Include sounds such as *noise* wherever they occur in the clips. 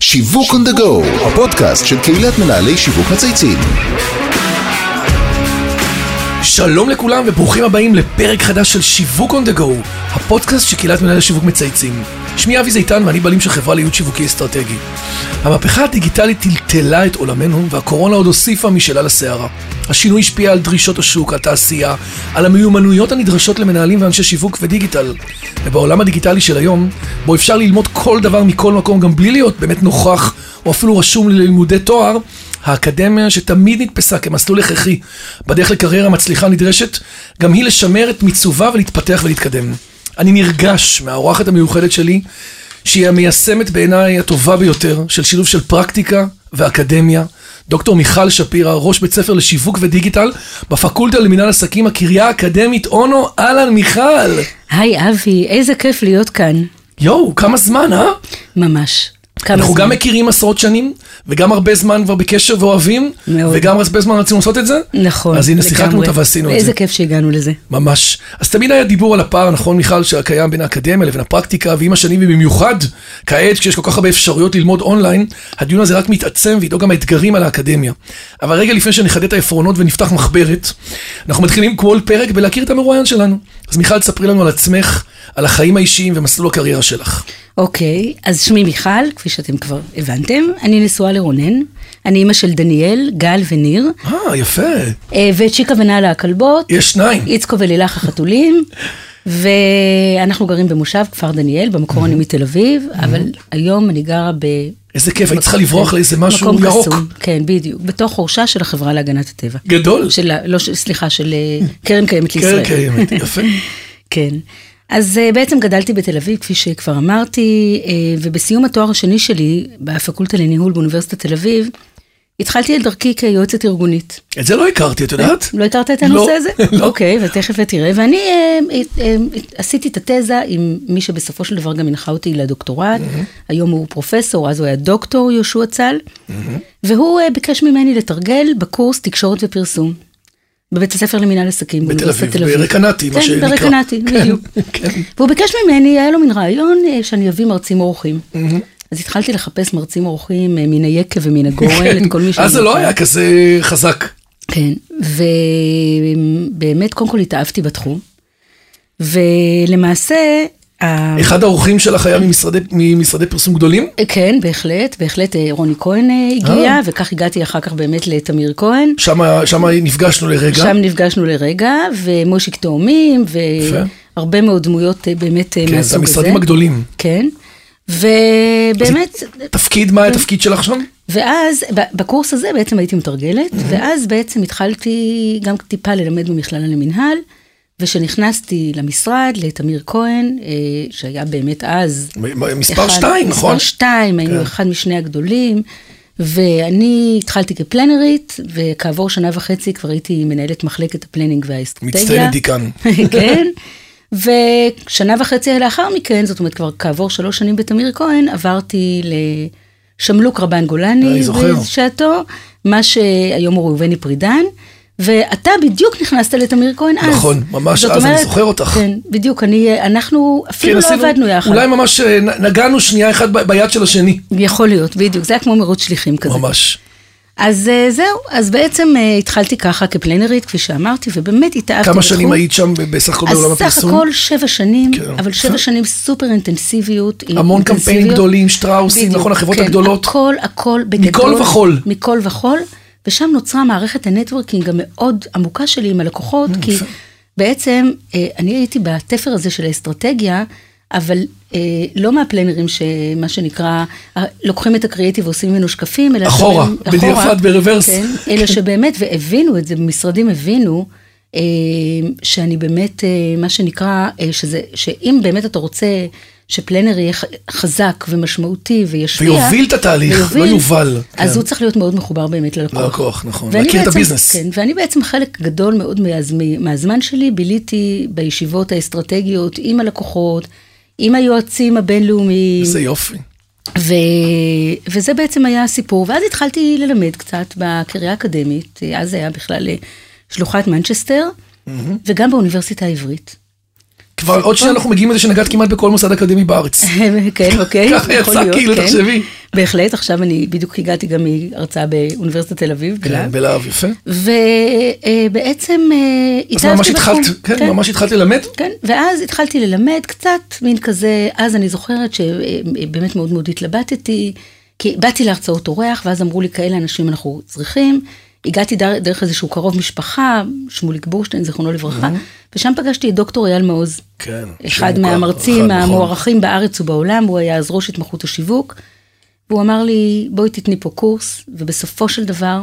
שיווק on the go, הפודקאסט של קהילת מנהלי שיווק מצייצים. שלום לכולם וברוכים הבאים לפרק חדש של שיווק on the go, הפודקאסט שקהילת מנהלי שיווק מצייצים. שמי אבי זיתן ואני בעלים של חברה לייעוד שיווקי אסטרטגי. המהפכה הדיגיטלית טלטלה את עולמנו והקורונה עוד הוסיפה משלה לסערה. השינוי השפיע על דרישות השוק, התעשייה, על המיומנויות הנדרשות למנהלים ואנשי שיווק ודיגיטל. ובעולם הדיגיטלי של היום, בו אפשר ללמוד כל דבר מכל מקום גם בלי להיות באמת נוכח או אפילו רשום ללימודי תואר, האקדמיה שתמיד נתפסה כמסלול הכרחי בדרך לקריירה מצליחה נדרשת, גם היא לשמר את מיצובה ולהתפתח ולהתקדם. אני נרגש מהאורחת המיוחדת שלי, שהיא המיישמת בעיניי הטובה ביותר של שילוב של פרקטיקה ואקדמיה. דוקטור מיכל שפירא, ראש בית ספר לשיווק ודיגיטל בפקולטה למינהל עסקים, הקריה האקדמית אונו, אהלן מיכל. היי אבי, איזה כיף להיות כאן. יואו, כמה זמן, אה? ממש. כמה אנחנו זמן. גם מכירים עשרות שנים, וגם הרבה זמן כבר בקשר ואוהבים, מאוד. וגם הרבה זמן רצינו לעשות את זה. נכון, אז הנה, שיחקנו לגמרי. אותה ועשינו את איזה זה. כיף שהגענו לזה. ממש. אז תמיד היה דיבור על הפער, נכון מיכל, שקיים בין האקדמיה לבין הפרקטיקה, ועם השנים ובמיוחד, כעת כשיש כל כך הרבה אפשרויות ללמוד אונליין, הדיון הזה רק מתעצם ואיתו גם האתגרים על האקדמיה. אבל רגע לפני שנחדד את העפרונות ונפתח מחברת, אנחנו מתחילים כל פרק בלהכיר את המרואיין שלנו. אז מיכל, תספרי לנו על עצמך, על החיים האישיים ומסלול הקריירה שלך. אוקיי, אז שמי מיכל, כפי שאתם כבר הבנתם, אני נשואה לרונן, אני אימא של דניאל, גל וניר, אה, יפה. אה, וצ'יקה ונאלה הכלבות, יש שניים. איצקו *laughs* ולילך החתולים, ואנחנו גרים במושב כפר דניאל, במקור אני מתל אביב, אבל היום אני גרה ב... איזה כיף, היית צריכה לברוח כן, לאיזה משהו מקום ירוק. קסום, כן, בדיוק, בתוך חורשה של החברה להגנת הטבע. גדול. של, ה- לא, של- סליחה, של אה, קרן קיימת קרן לישראל. קיימת, יפה. *laughs* כן. אז אה, בעצם גדלתי בתל אביב, כפי שכבר אמרתי, אה, ובסיום התואר השני שלי בפקולטה לניהול באוניברסיטת תל אביב, התחלתי את דרכי כיועצת ארגונית. את זה לא הכרתי, את יודעת? לא הכרת את הנושא לא, הזה? *laughs* לא. אוקיי, ותכף תראה. ואני אה, אה, אה, עשיתי את התזה עם מי שבסופו של דבר גם הנחה אותי לדוקטורט, היום הוא פרופסור, אז הוא היה דוקטור יהושע צל, והוא אה, ביקש ממני לתרגל בקורס תקשורת ופרסום. בבית הספר למינהל עסקים, בתל באוניברסיטת אביב, ברקנטי, מה שנקרא. לא כן, ברקנטי, כן, בדיוק. כן. והוא ביקש ממני, היה לו מין רעיון אה, שאני אביא מרצים אורחים. אז התחלתי לחפש מרצים אורחים אה, מן היקב ומן הגורן, את כל מי אז זה שאני לא מכירה. היה כזה חזק. כן, ובאמת, קודם כל התאהבתי בתחום, ולמעשה, ה- אחד האורחים שלך היה ממשרדי- ממשרדי פרסום גדולים? כן, בהחלט, בהחלט אה, רוני כהן אה, הגיע, אה. וכך הגעתי אחר כך באמת לתמיר כהן. שמה שמה נפגשנו לרגע. שם נפגשנו לרגע, ומושיק תאומים, יפה. והרבה מאוד דמויות אה, באמת אה, כן, זה מהסוג הזה. המשרדים הגדולים. כן, ובאמת, תפקיד, מה היה כן. התפקיד שלך שם? ואז ב- בקורס הזה בעצם הייתי מתרגלת, ואז בעצם התחלתי גם טיפה ללמד במכללה למינהל, וכשנכנסתי למשרד, לתמיר כהן, אה, שהיה באמת אז... מ- מ- מספר אחד- שתיים, נכון? מספר שתיים, היינו אחד משני הגדולים, ואני התחלתי כפלנרית, וכעבור שנה וחצי כבר הייתי מנהלת מחלקת הפלנינג והאסטרטגיה. *laughs* מצטיינת דיקן. כן. ושנה וחצי לאחר מכן, זאת אומרת כבר כעבור שלוש שנים בתמיר כהן, עברתי לשמלוק רבן אני גולני זוכר. בשעתו, מה שהיום הוא ראובני פרידן, ואתה בדיוק נכנסת לתמיר כהן אז. נכון, ממש זאת אז, אני זוכר אותך. כן, בדיוק, אני, אנחנו אפילו כן, לא עשינו- עבדנו יחד. אולי ממש אה, נ- נגענו שנייה אחת ב- ביד של השני. יכול להיות, בדיוק, זה היה כמו מרוץ שליחים כזה. ממש. אז אה, זהו, אז בעצם אה, התחלתי ככה כפלנרית, כפי שאמרתי, ובאמת התאהבתי כמה בתחום. שנים היית שם ב- בסך הכל בעולם אז סך לא הפרסום? הכל שבע שנים, כן. אבל בסדר. שבע שנים סופר אינטנסיביות. עם המון אינטנסיביות. קמפיינים גדולים, שטראוסים, בדיוק, נכון, החברות כן, הגדולות. הכל, הכל בגדול. מכל וכול. מכל וכול, ושם נוצרה מערכת הנטוורקינג המאוד עמוקה שלי עם הלקוחות, כי יפה. בעצם אה, אני הייתי בתפר הזה של האסטרטגיה, אבל אה, לא מהפלנרים שמה שנקרא, אה, לוקחים את הקריאיטיב ועושים ממנו שקפים, אלא אחורה, שבאמת- בדיעבד, אחורה, ברוורס. כן, אלא שבאמת, והבינו את זה, במשרדים הבינו, אה, שאני באמת, אה, מה שנקרא, אה, שזה, שאם באמת אתה רוצה שפלנר יהיה ח- חזק ומשמעותי וישפיע, ויוביל את התהליך, לא יובל, אז כן. הוא צריך להיות מאוד מחובר באמת ללקוח. ללקוח, נכון, ואני להכיר את בעצם- הביזנס. כן, ואני בעצם חלק גדול מאוד מאז- מ- מהזמן שלי ביליתי בישיבות האסטרטגיות עם הלקוחות, עם היועצים הבינלאומיים. איזה יופי. ו... וזה בעצם היה הסיפור, ואז התחלתי ללמד קצת בקריה האקדמית, אז זה היה בכלל אה, שלוחת מנצ'סטר, mm-hmm. וגם באוניברסיטה העברית. *laughs* כבר עוד שנייה אנחנו מגיעים לזה שנגעת כמעט בכל מוסד אקדמי בארץ. כן, אוקיי, ככה יכול יצא, להיות, כאילו, כן. תחשבי. בהחלט, עכשיו אני בדיוק הגעתי גם מהרצאה באוניברסיטת תל אביב, כן, בלהב. בלהב, יפה. ובעצם אז אה, התאהבתי ממש בתחום. התחלת, כן, ממש התחלת ללמד? כן, ואז התחלתי ללמד קצת, מין כזה, אז אני זוכרת שבאמת מאוד מאוד התלבטתי, כי באתי להרצאות אורח, ואז אמרו לי, כאלה אנשים אנחנו צריכים. הגעתי דר- דרך איזשהו קרוב משפחה, שמוליק בורשטיין, זיכרונו לברכה, ושם פגשתי את דוקטור אייל מעוז. כן, שהוא אחד מוכר, מהמרצים אחד, נכון. המוערכים בארץ ובעולם, הוא היה אז ראש התמחות השיווק. והוא אמר לי, בואי תתני פה קורס, ובסופו של דבר,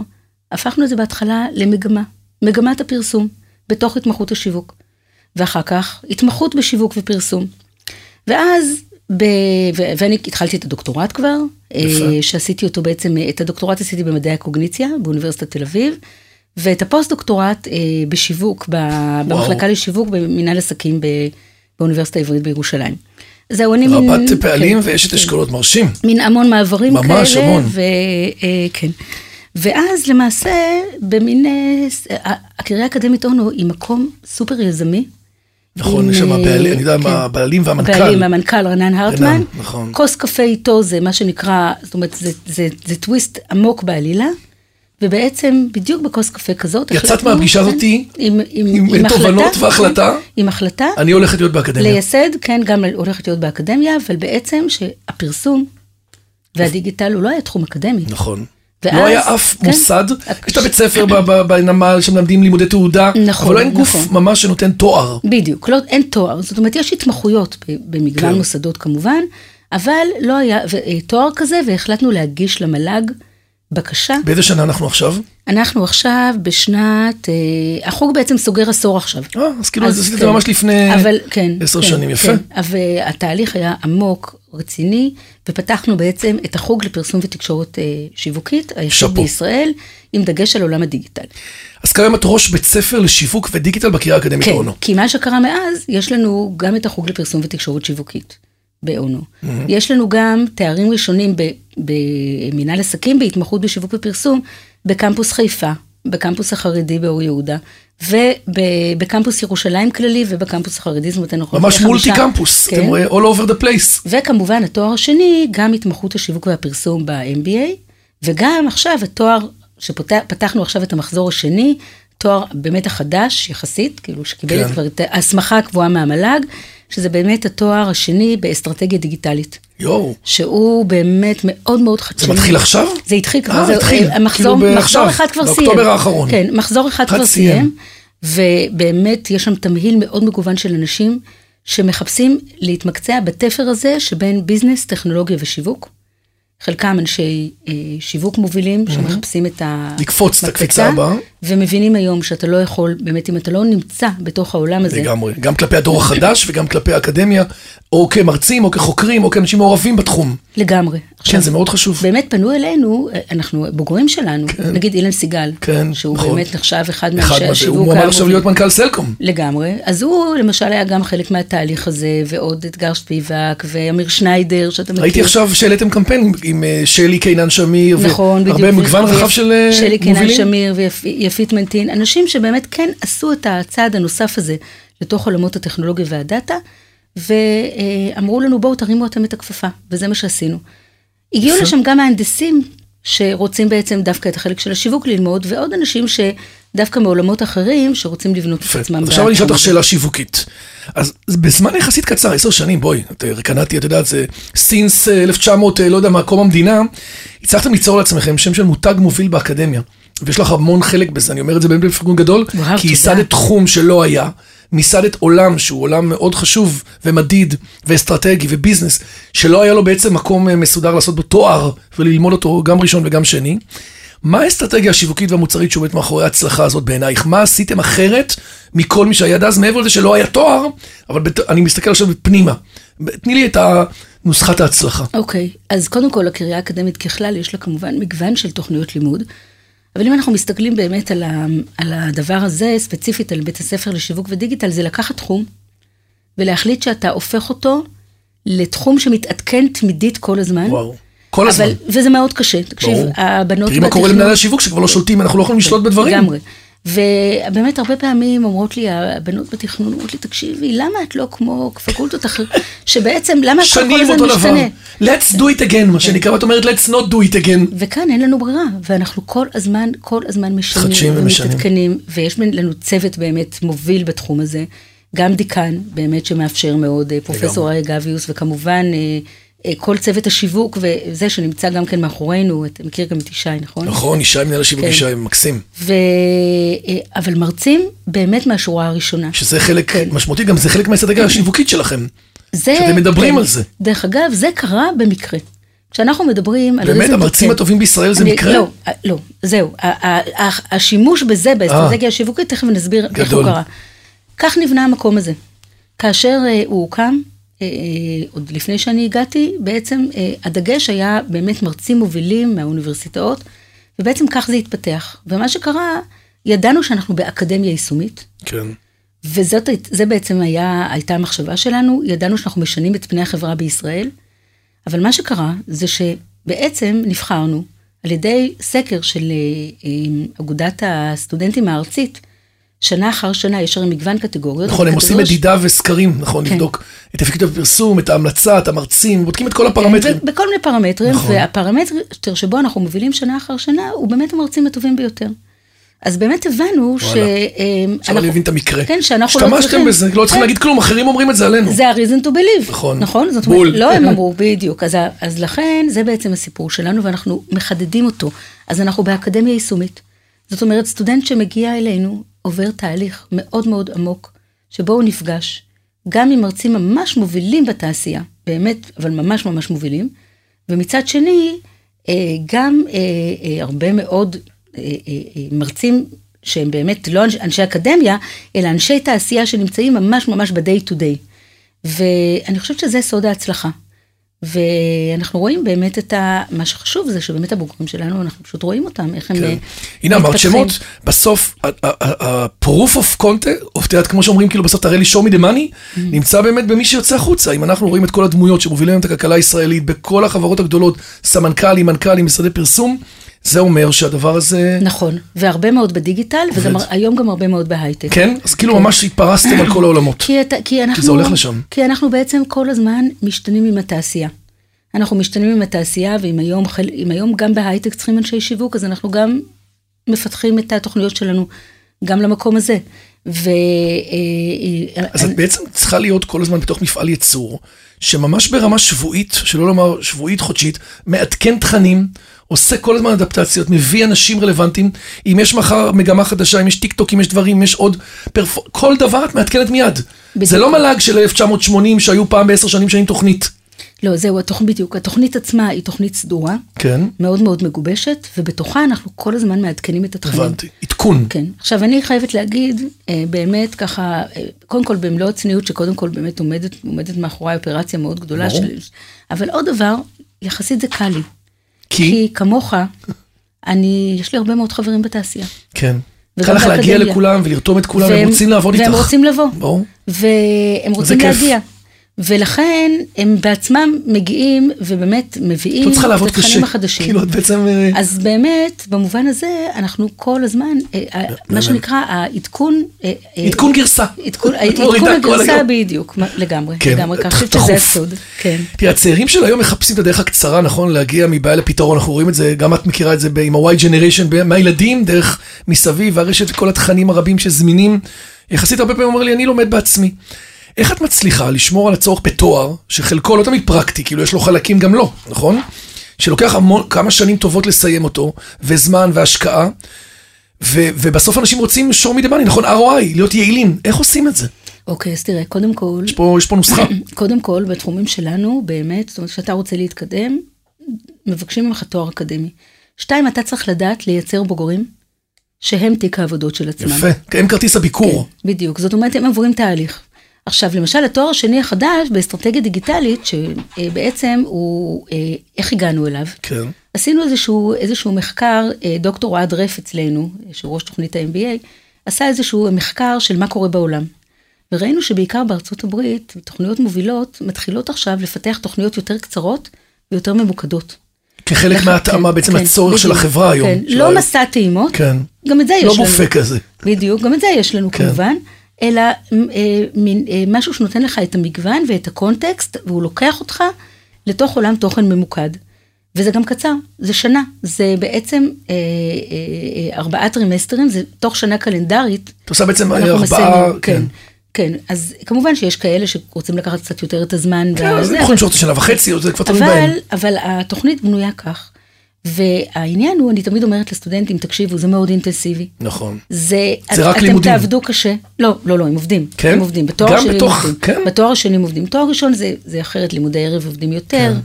הפכנו את זה בהתחלה למגמה, מגמת הפרסום, בתוך התמחות השיווק. ואחר כך, התמחות בשיווק ופרסום. ואז, ב... ו... ואני התחלתי את הדוקטורט כבר, יפה. אה, שעשיתי אותו בעצם, אה, את הדוקטורט עשיתי במדעי הקוגניציה באוניברסיטת תל אביב, ואת הפוסט-דוקטורט אה, בשיווק, ב... במחלקה לשיווק במנהל עסקים ב... באוניברסיטה העברית בירושלים. זהו, אני מין... רבת פעלים כן, ויש את אשכולות מרשים. מין המון מעברים כאלה. ממש המון. ו... אה, כן. ואז למעשה, במין... אה, ס- ה- הקריה האקדמית אונו היא מקום סופר יזמי. נכון, עם, יש שם אה, הבעלים, אני יודע כן. מה, הבעלים והמנכ"ל. הבעלים, המנכ"ל רנן הרטמן. נכון. כוס קפה איתו זה מה שנקרא, זאת אומרת, זה, זה, זה טוויסט עמוק בעלילה. ובעצם בדיוק בכוס קפה כזאת, יצאת החלטנו, מהפגישה כן, הזאתי עם, עם, עם עם תובנות החלטה, והחלטה? כן, עם החלטה, אני הולכת להיות באקדמיה. לייסד, כן, גם הולכת להיות באקדמיה, אבל בעצם שהפרסום והדיגיטל הוא לא היה תחום אקדמי. נכון. ואז- לא היה אף כן. מוסד, הק- יש את הבית ספר ב- ב- בנמל שמלמדים לימודי תעודה, נכון, אבל לא אין גוף נכון. ממש שנותן תואר. בדיוק, לא, אין תואר, זאת אומרת יש התמחויות ב- במגוון כן. כן. מוסדות כמובן, אבל לא היה ו- אה, תואר כזה והחלטנו להגיש למל"ג בקשה. באיזה שנה אנחנו עכשיו? אנחנו עכשיו בשנת, אה, החוג בעצם סוגר עשור עכשיו. אה, אז כאילו אז עשית את כן. זה ממש לפני אבל, כן, עשר כן, שנים, יפה. כן. והתהליך היה עמוק, רציני, ופתחנו בעצם את החוג לפרסום ותקשורת אה, שיווקית, היחיד שאפו. בישראל, עם דגש על עולם הדיגיטל. אז כיום את ראש בית ספר לשיווק ודיגיטל בקריה האקדמית כן, אונו. כי מה שקרה מאז, יש לנו גם את החוג לפרסום ותקשורת שיווקית באונו. Mm-hmm. יש לנו גם תארים ראשונים ב- במנהל עסקים בהתמחות בשיווק ופרסום בקמפוס חיפה, בקמפוס החרדי באור יהודה, ובקמפוס ירושלים כללי ובקמפוס החרדי, זאת אומרת אנחנו... ממש חמישה- מולטי קמפוס, אתם כן. רואים, all over the place. וכמובן התואר השני, גם התמחות השיווק והפרסום ב-MBA, וגם עכשיו התואר, שפתחנו עכשיו את המחזור השני, תואר באמת החדש יחסית, כאילו שקיבל כן. כן. כבר את ההסמכה הקבועה מהמל"ג, שזה באמת התואר השני באסטרטגיה דיגיטלית, יואו, שהוא באמת מאוד מאוד חדשני. מתחיל עכשיו? זה התחיל כבר, אה, זה התחיל, אה, מחזור, כאילו מחזור בעכשיו, אחד כבר סיים. באוקטובר האחרון. כן, מחזור אחד אחד כבר סיים. סיים, ובאמת יש שם תמהיל מאוד מגוון של אנשים שמחפשים להתמקצע בתפר הזה שבין ביזנס, טכנולוגיה ושיווק. חלקם אנשי אה, שיווק מובילים שמחפשים את ה... לקפוץ את הקפיצה המקפצה, הבאה. ומבינים היום שאתה לא יכול, באמת, אם אתה לא נמצא בתוך העולם הזה, לגמרי, גם כלפי הדור החדש וגם כלפי האקדמיה, או כמרצים, או כחוקרים, או כאנשים מעורבים בתחום. לגמרי. כן, זה מאוד חשוב. באמת פנו אלינו, אנחנו בוגרים שלנו, כן. נגיד אילן סיגל, כן, שהוא נכון. באמת נחשב אחד אחד, מאנשי מה זה, הוא השיווק מועמד עכשיו להיות מנכ"ל נכון. סלקום. לגמרי, אז הוא למשל היה גם חלק מהתהליך הזה, ועוד אתגר שפיבק, ואמיר שניידר, שאתה מכיר. ראיתי עכשיו שהעליתם קמפיין עם אה, שלי קינן שמיר, נכון, והרבה מגוון ויפ- רחב של אה, שלי קינן מובילים. שמיר ויפית מנטין, אנשים שבאמת כן עשו את הצעד הנוסף הזה לתוך עולמות הטכנולוגיה והדאטה, ואמרו לנו בואו תרימו אתם את הכפפה, וזה מה שעשינו. הגיעו לשם גם מהנדסים שרוצים בעצם דווקא את החלק של השיווק ללמוד, ועוד אנשים שדווקא מעולמות אחרים שרוצים לבנות את יפה. עצמם. אז עכשיו אני אשאל בתחום אותך הזה. שאלה שיווקית. אז בזמן יחסית קצר, עשר שנים, בואי, את אה, קנאתי, את יודעת, זה סינס אה, 1900, אה, לא יודע מה, קום המדינה, הצלחתם ליצור לעצמכם שם של מותג מוביל באקדמיה. ויש לך המון חלק בזה, אני אומר את זה באמת בפרגון גדול, כי וואו, תודה. ייסדת תחום שלא היה, מיסדת עולם שהוא עולם מאוד חשוב ומדיד ואסטרטגי וביזנס, שלא היה לו בעצם מקום אה, מסודר לעשות בו תואר וללמוד אותו גם ראשון וגם שני. מה האסטרטגיה השיווקית והמוצרית שעומדת מאחורי ההצלחה הזאת בעינייך? מה עשיתם אחרת מכל מי שהיה עד אז, מעבר לזה שלא היה תואר, אבל בת... אני מסתכל עכשיו פנימה. תני לי את ה- נוסחת ההצלחה. אוקיי, okay, אז קודם כל הקריה האקדמית ככלל יש לה כמובן מגוון של תוכניות לימוד, אבל אם אנחנו מסתכלים באמת על, ה, על הדבר הזה, ספציפית על בית הספר לשיווק ודיגיטל, זה לקחת תחום ולהחליט שאתה הופך אותו לתחום שמתעדכן תמידית כל הזמן. וואו, כל הזמן. אבל, וזה מאוד קשה, תקשיב, ברור. הבנות... תראי מה קורה בטכנולוגיה- למנהלי השיווק שכבר לא שולטים, אנחנו לא יכולים לשלוט בדברים. לגמרי. ובאמת הרבה פעמים אומרות לי הבנות בתכנון, אומרות לי, תקשיבי, למה את לא כמו פקולטות אחרות, שבעצם, למה את כל שנים הזמן אותו דבר. משתנה? כן. let's do it again, מה שנקרא, ואת אומרת let's not do it again. וכאן אין לנו ברירה, ואנחנו כל הזמן, כל הזמן מתחדשים משנים ומשנים. ומתעדכנים, ויש לנו צוות באמת מוביל בתחום הזה, גם דיקן, באמת שמאפשר מאוד, אה, פרופסור אריה גביוס, וכמובן אה, אה, כל צוות השיווק, וזה שנמצא גם כן מאחורינו, אתה מכיר גם את ישי, נכון? נכון, אישה מנהל השיווק כן. אישה מקסים. ו... אה, אבל מרצים באמת מהשורה הראשונה. שזה חלק כן. משמעותי, גם זה חלק מהאסטרטגיה השיווקית שלכם. זה, כן. שאתם מדברים על זה. דרך אגב, זה קרה במקרה. כשאנחנו מדברים על... באמת, ריזם המרצים טוב, כן. הטובים בישראל זה אני- מקרה? לא, אה, לא, זהו. ה- ה- ה- השימוש בזה, באסטרטגיה השיווקית, תכף נסביר איך אה. גדול. הוא קרה. כך נבנה המקום הזה. כאשר אה, הוא הוקם, אה, אה, עוד לפני שאני הגעתי, בעצם אה, הדגש היה באמת מרצים מובילים מהאוניברסיטאות, ובעצם כך זה התפתח. ומה שקרה, ידענו שאנחנו באקדמיה יישומית, כן. וזאת היית- זה בעצם היה, הייתה המחשבה שלנו, ידענו שאנחנו משנים את פני החברה בישראל, אבל מה שקרה זה שבעצם נבחרנו על ידי סקר של אה, אה, אגודת הסטודנטים הארצית, שנה אחר שנה, יש הרי מגוון קטגוריות. נכון, הם הקטגוריה עושים ש- מדידה וסקרים, נכון, לא, כן. לבדוק את אפקטיב הפרסום, את ההמלצה, את המרצים, בודקים את כל הפרמטרים. ב- כן, בכל מיני פרמטרים, נכון. נכון. והפרמטר שבו אנחנו מובילים שנה אחר שנה, הוא באמת המרצים הטובים ביותר. אז באמת הבנו ש... וואלה. אה, אפשר אנחנו- להבין את המקרה. כן, שאנחנו לא צריכים... השתמשתם בזה, לא כן. צריכים להגיד כלום, אחרים אומרים את זה עלינו. זה ה-reason to believe. נכון. נכון? זאת בול. אומרת, לא הם אמרו, בדיוק. אז, ה- אז לכן, זה בעצם הסיפור שלנו, ואנחנו מחדדים אותו. אז אנחנו באקדמיה יישומית. זאת אומרת, סטודנט שמגיע אלינו עובר תהליך מאוד מאוד עמוק, שבו הוא נפגש גם עם מרצים ממש מובילים בתעשייה, באמת, אבל ממש ממש מובילים, ומצד שני, אה, גם אה, אה, הרבה מאוד אה, אה, אה, מרצים שהם באמת לא אנשי- אנשי אקדמיה, אלא אנשי תעשייה שנמצאים ממש ממש ב-day to day. ואני חושבת שזה סוד ההצלחה. ואנחנו רואים באמת את ה... מה שחשוב זה שבאמת הבוגרים שלנו, אנחנו פשוט רואים אותם, איך הם כן. אה, הנה אמרת מתפתחים. שמות, בסוף ה-proof of content, או את יודעת, כמו שאומרים, כאילו בסוף תראה לי show me the Mm. money, נמצא באמת במי שיוצא החוצה. אם אנחנו רואים את כל הדמויות שמובילים את הכלכלה הישראלית בכל החברות הגדולות, סמנכ"לים, מנכ"לים, משרדי פרסום, זה אומר שהדבר הזה... נכון, והרבה מאוד בדיגיטל, וגם עובד. היום גם הרבה מאוד בהייטק. כן? אז כאילו ממש התפרסתם על כל העולמות. כי, אתה, כי אנחנו... זה הולך לשם. כי אנחנו בעצם כל הזמן משתנים עם התעשייה. אנחנו משתנים עם התעשייה, ואם היום, חל- אם היום גם בהייטק צריכים אנשי שיווק, אז אנחנו גם מפתחים את התוכניות שלנו גם למקום הזה. ו... אה, אה, אז את בעצם צריכה להיות כל הזמן בתוך מפעל ייצור, שממש ברמה שבועית, שלא לומר שבועית חודשית, מעדכן תכנים, עושה כל הזמן אדפטציות, מביא אנשים רלוונטיים, אם יש מחר מגמה חדשה, אם יש טיק טוק, אם יש דברים, אם יש עוד, פרפ... כל דבר את מעדכנת מיד. בדיוק. זה לא מל"ג של 1980 שהיו פעם בעשר שנים שנים תוכנית. לא, זהו, התוכנית, בדיוק. התוכנית עצמה היא תוכנית סדורה, כן, מאוד מאוד מגובשת, ובתוכה אנחנו כל הזמן מעדכנים את התכנים. הבנתי. עדכון. כן. עכשיו, אני חייבת להגיד, אה, באמת ככה, אה, קודם כל במלוא הצניעות, שקודם כל באמת עומדת, עומדת מאחורי אופרציה מאוד גדולה ברור. שלי. אבל עוד דבר, יחסית זה קל לי. כי, כי כמוך, אני, יש לי הרבה מאוד חברים בתעשייה. כן. וגם קל לך להגיע באקדמיה. לכולם ולרתום את כולם, הם והם- רוצים לעבוד איתך. והם רוצים לבוא. ברור. והם רוצים כיף. להגיע. ולכן הם בעצמם מגיעים את ובאמת מביאים לא צריכה לעבוד התכנים קשה. החדשים. כאילו, את בעצם... אה, אז באמת, במובן הזה, אנחנו כל הזמן, אה, אה, מה שנקרא, העדכון... אה, אה, לא, עדכון גרסה. *laughs* עדכון, את מורידה עדכון כל הגרסה היום. בדיוק, מה- לגמרי, כן, לגמרי, ככה, אני חושבת תכוף. שזה הסוד, כן. תראה, הצעירים של היום מחפשים את הדרך הקצרה, נכון? להגיע מבעיה לפתרון, אנחנו רואים את זה, גם את מכירה את זה ב- עם ה-Y Generation, ב- מהילדים, דרך מסביב, והרשת וכל התכנים הרבים שזמינים. יחסית הרבה פעמים אומר לי, אני לומד בעצמי. איך את מצליחה לשמור על הצורך בתואר, שחלקו לא תמיד פרקטי, כאילו יש לו חלקים גם לא, נכון? שלוקח המון, כמה שנים טובות לסיים אותו, וזמן והשקעה, ו- ובסוף אנשים רוצים show me the money, נכון? ROI, להיות יעילים. איך עושים את זה? אוקיי, אז תראה, קודם כל, יש פה, יש פה נוסחה. קודם כל, בתחומים שלנו, באמת, זאת אומרת, כשאתה רוצה להתקדם, מבקשים ממך תואר אקדמי. שתיים, אתה צריך לדעת לייצר בוגרים שהם תיק העבודות של עצמם. יפה, הם כרטיס הביקור. כן, בדיוק, זאת אומרת, הם עוברים תהליך. עכשיו, למשל, התואר השני החדש באסטרטגיה דיגיטלית, שבעצם הוא, אה, איך הגענו אליו? כן. עשינו איזשהו, איזשהו מחקר, אה, דוקטור אוהד רף אצלנו, אה, שהוא ראש תוכנית ה-MBA, עשה איזשהו מחקר של מה קורה בעולם. וראינו שבעיקר בארצות הברית, תוכניות מובילות מתחילות עכשיו לפתח תוכניות יותר קצרות ויותר ממוקדות. כן, כחלק מההתאמה, בעצם הצורך של נכון, בדיוק, החברה היום. כן, של לא ה- מסע טעימות, כן. גם את זה יש לא לנו. בופה כזה. בדיוק, גם את זה יש לנו כן. כמובן, אלא אה, מין, אה, משהו שנותן לך את המגוון ואת הקונטקסט, והוא לוקח אותך לתוך עולם תוכן ממוקד. וזה גם קצר, זה שנה, זה בעצם אה, אה, אה, ארבעה טרימסטרים, זה תוך שנה קלנדרית. את עושה בעצם אנחנו ארבעה, מסיימים, כן. כן, אז כמובן שיש כאלה שרוצים לקחת קצת יותר את הזמן. כן, אז הם וזה, אבל- יכולים לשאול אותי שנה וחצי, זה כבר תלוי בהם. אבל, אבל התוכנית בנויה כך, והעניין הוא, אני תמיד אומרת לסטודנטים, תקשיבו, זה מאוד אינטנסיבי. נכון. זה, זה את- רק אתם לימודים. תעבדו קשה. לא, לא, לא, הם עובדים. כן? הם עובדים. בתואר גם השני הם בתוך- עובדים. כן? בתואר השני הם עובדים. תואר ראשון זה, זה אחרת, לימודי ערב עובדים יותר, כן.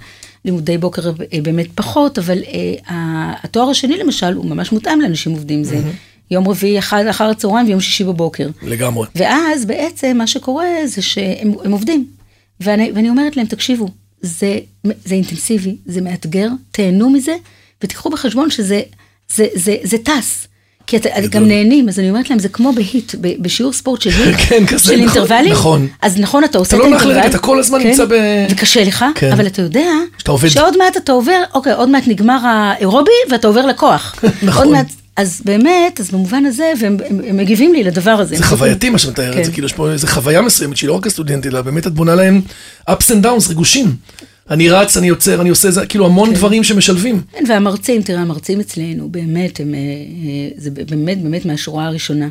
לימודי בוקר אה, באמת פחות, אבל אה, ה- התואר השני למשל הוא ממש מותאם לאנשים עובדים. זה יום רביעי אחר, אחר הצהריים ויום שישי בבוקר. לגמרי. ואז בעצם מה שקורה זה שהם הם עובדים. ואני, ואני אומרת להם, תקשיבו, זה, זה אינטנסיבי, זה מאתגר, תהנו מזה, ותיקחו בחשבון שזה זה, זה, זה טס. כי אתם גם נהנים, אז אני אומרת להם, זה כמו בהיט, ב- בשיעור ספורט של היט, *laughs* כן, כזה, של נכון, אינטרבלים. נכון. אז נכון, אתה עושה לא את נח האינטרוול. כן? לרגע, אתה כל הזמן נמצא ב- וקשה לך, כן. אבל אתה יודע, שאתה עובד. שעוד מעט אתה עובר, אוקיי, עוד מעט נגמר האירובי, ואתה עובר לכוח. *laughs* נכון. עוד מעט, אז באמת, אז במובן הזה, והם הם- הם מגיבים לי לדבר הזה. זה חווייתי מה שמתאר את כן. זה, כאילו יש פה איזו חוויה מסוימת שהיא לא רק הסטודנטית, אלא באמת את בונה להם ups and downs, ריגושים. אני רץ, אני יוצר, אני עושה זה, כאילו המון דברים שמשלבים. כן, והמרצים, תראה, המרצים אצלנו, באמת, הם, אה, אה, זה באמת באמת מהשורה הראשונה.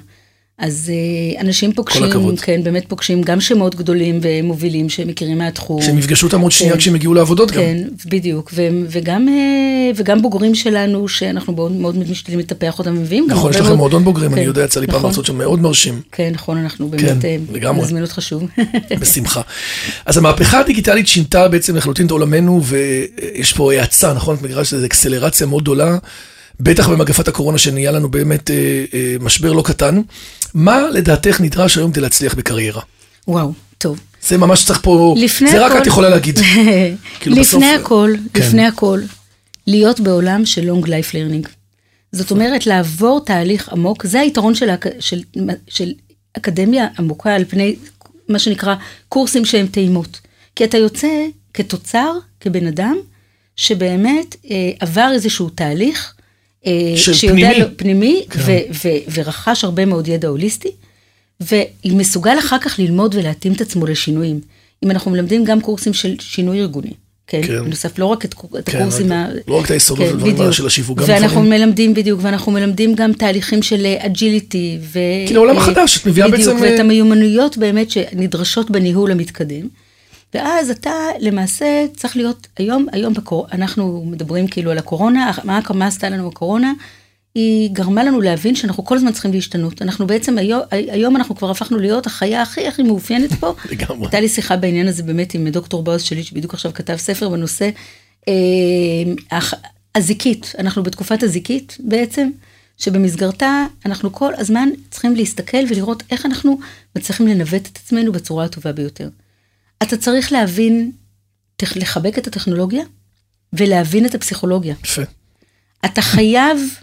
אז אה, אנשים פוגשים, הכבוד. כן, באמת פוגשים גם שמות גדולים ומובילים שמכירים מהתחום. שהם יפגשו אותם עוד שנייה כן. כשהם יגיעו לעבודות גם. כן, בדיוק, ו- וגם, אה, וגם בוגרים שלנו, שאנחנו מאוד מאוד משתדלים לטפח אותם, ומביאים גם נכון, יש הרבה לכם מאוד- מועדון בוגרים, אני כן, יודע, יצא לי פעם נכון. לעשות שם מאוד מרשים. כן, נכון, אנחנו כן, באמת, אה, לגמרי. נזמין אותך שוב. *laughs* בשמחה. אז המהפכה הדיגיטלית שינתה בעצם לחלוטין את עולמנו, ויש פה האצה, נכון? את מגדירה שזה אקסלרציה מאוד גדולה, בטח במגפת הקורונה שנהיה לנו באמת אה, אה, משבר לא קטן. מה לדעתך נדרש היום כדי להצליח בקריירה? וואו, טוב. זה ממש צריך פה, לפני זה הכל, רק את יכולה *laughs* להגיד. כאילו לפני בסוף- הכל, כן. לפני הכל, להיות בעולם של לונג לייף לרנינג. זאת אומרת, לעבור תהליך עמוק, זה היתרון של, האק- של, של אקדמיה עמוקה על פני מה שנקרא קורסים שהם טעימות. כי אתה יוצא כתוצר, כבן אדם, שבאמת אה, עבר איזשהו תהליך, אה, של שיודע פנימי. לו, פנימי כן. ו- ו- ורכש הרבה מאוד ידע הוליסטי, ומסוגל אחר כך ללמוד ולהתאים את עצמו לשינויים. אם אנחנו מלמדים גם קורסים של שינוי ארגוני, כן? כן. כן. בנוסף, לא רק את, קור- את כן, הקורסים רק- ה... כן, לא רק את היסודות והדברים בדיוק. של השיווק, גם ואנחנו דברים- מלמדים בדיוק, ואנחנו מלמדים גם תהליכים של אג'יליטי, ו... כאילו, עולם אה, חדש, את מביאה בדיוק, בעצם, ואת אה, המיומנויות באמת שנדרשות בניהול המתקדם. ואז אתה למעשה צריך להיות, היום, היום בקור... אנחנו מדברים כאילו על הקורונה, אך- מה, מה עשתה לנו הקורונה? היא גרמה לנו להבין שאנחנו כל הזמן צריכים להשתנות. אנחנו בעצם היום, היום אנחנו כבר הפכנו להיות החיה הכי הכי מאופיינת פה. לגמרי. הייתה לי שיחה בעניין הזה באמת עם דוקטור באוס שלי, שבדיוק עכשיו כתב ספר בנושא אה, הח- הזיקית, אנחנו בתקופת הזיקית בעצם, שבמסגרתה אנחנו כל הזמן צריכים להסתכל ולראות איך אנחנו מצליחים לנווט את עצמנו בצורה הטובה ביותר. אתה צריך להבין, תח- לחבק את הטכנולוגיה ולהבין את הפסיכולוגיה. יפה, אתה חייב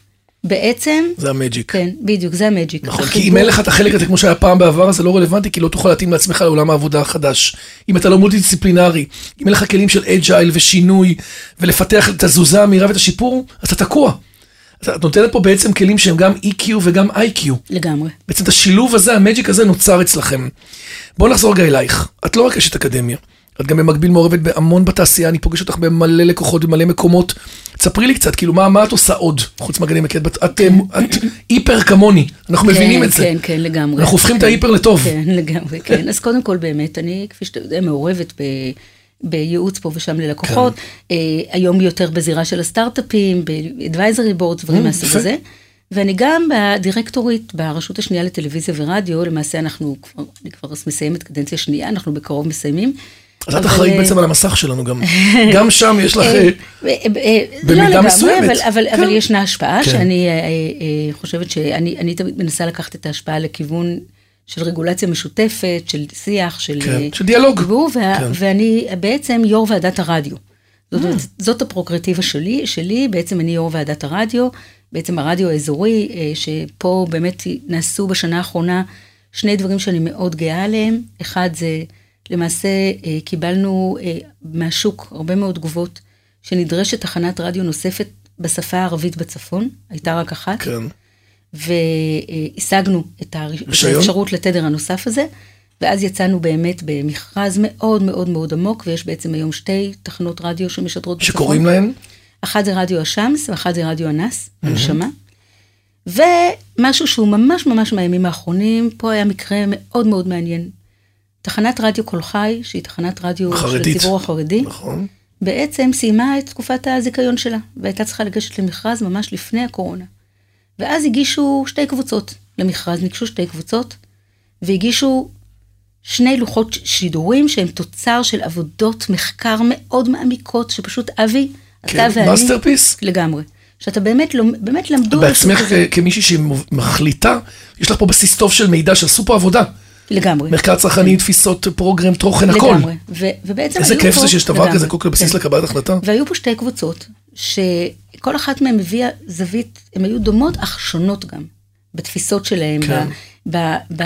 בעצם, זה המג'יק. כן, בדיוק, זה המג'יק. נכון, כי אם החיבור- אין לך את החלק הזה כמו שהיה פעם בעבר, זה לא רלוונטי, כי לא תוכל להתאים לעצמך לעולם העבודה החדש. אם אתה לא מולטי-דיסציפלינרי, אם אין לך כלים של אג'ייל ושינוי, ולפתח את התזוזה המהירה ואת השיפור, אז אתה תקוע. אז את נותנת פה בעצם כלים שהם גם EQ וגם IQ. לגמרי. בעצם את השילוב הזה, המג'יק הזה נוצר אצלכם. בואו נחזור רגע אלייך. את לא רק אשת אקדמיה, את גם במקביל מעורבת בהמון בתעשייה, אני פוגש אותך במלא לקוחות, במלא מקומות. תספרי לי קצת, כאילו, מה, מה את עושה עוד חוץ מאקדמיה? כי את, בת- את, אמ, את היפר כמוני, אנחנו מבינים כן, את זה. כן, כן, לגמרי. אנחנו הופכים את כן. ההיפר לטוב. כן, לגמרי, כן. אז קודם כל, באמת, אני, כפי שאתה יודע, מעורבת ב... בייעוץ פה ושם ללקוחות, כן. אה, היום יותר בזירה של הסטארט-אפים, ב-advisory board, דברים מהסוג Mm, יפה. הזה. ואני גם בדירקטורית ברשות השנייה לטלוויזיה ורדיו, למעשה אנחנו כבר, אני כבר מסיימת קדנציה שנייה, אנחנו בקרוב מסיימים. אז את אבל, אחראית אה, בעצם על המסך שלנו *laughs* גם. גם שם יש לך... אה, אה, אה, אה, במידה לא לגמרי, מסוימת. אבל- אבל- כן. אבל ישנה השפעה כן. שאני אה, אה, אה, חושבת שאני אני תמיד מנסה לקחת את ההשפעה לכיוון של רגולציה משותפת, של שיח, של... כן, אה, של דיאלוג. דיבור, וה- כן. אה. ואני בעצם יו"ר ועדת הרדיו. זאת אומרת, זאת הפרוקרטיבה שלי, שלי, בעצם אני יו"ר ועדת הרדיו, בעצם הרדיו האזורי, אה, שפה באמת נעשו בשנה האחרונה שני דברים שאני מאוד גאה עליהם. אחד זה, למעשה אה, קיבלנו אה, מהשוק הרבה מאוד תגובות, שנדרשת תחנת רדיו נוספת בשפה הערבית בצפון, הייתה רק אחת. כן. והשגנו את הר- את רישיון? האפשרות לתדר הנוסף הזה, ואז יצאנו באמת במכרז מאוד מאוד מאוד עמוק, ויש בעצם היום שתי תחנות רדיו שמשדרות בצפון. שקוראים להם? אחת זה רדיו השמס ואחת זה רדיו אנס, הנשמה. ומשהו שהוא ממש ממש מהימים האחרונים, פה היה מקרה מאוד מאוד מעניין. תחנת רדיו קול חי, שהיא תחנת רדיו חרדית. של הציבור החרדי, נכון. בעצם סיימה את תקופת הזיכיון שלה, והייתה צריכה לגשת למכרז ממש לפני הקורונה. ואז הגישו שתי קבוצות למכרז, ניגשו שתי קבוצות, והגישו שני לוחות ש- שידורים שהם תוצר של עבודות מחקר מאוד מעמיקות, שפשוט אבי, כן, אתה ואני... masterpiece. לגמרי. שאתה באמת, לומ- באמת למדו... בעצמך אה, משהו כזה. כ- כמישהי שמחליטה, יש לך פה בסיס טוב של מידע שעשו פה *laughs* עבודה. לגמרי. מחקר צרכני, תפיסות, פרוגרם, תוכן, הכל. לגמרי. ו- ובעצם איזה היו כיף פה- זה שיש דבר לגמרי. כזה, כל כך בסיס כן. לקבלת החלטה. והיו פה שתי קבוצות, שכל אחת מהן הביאה זווית, הן היו דומות אך שונות גם, בתפיסות שלהן, כן. כן. ב, ב, ב,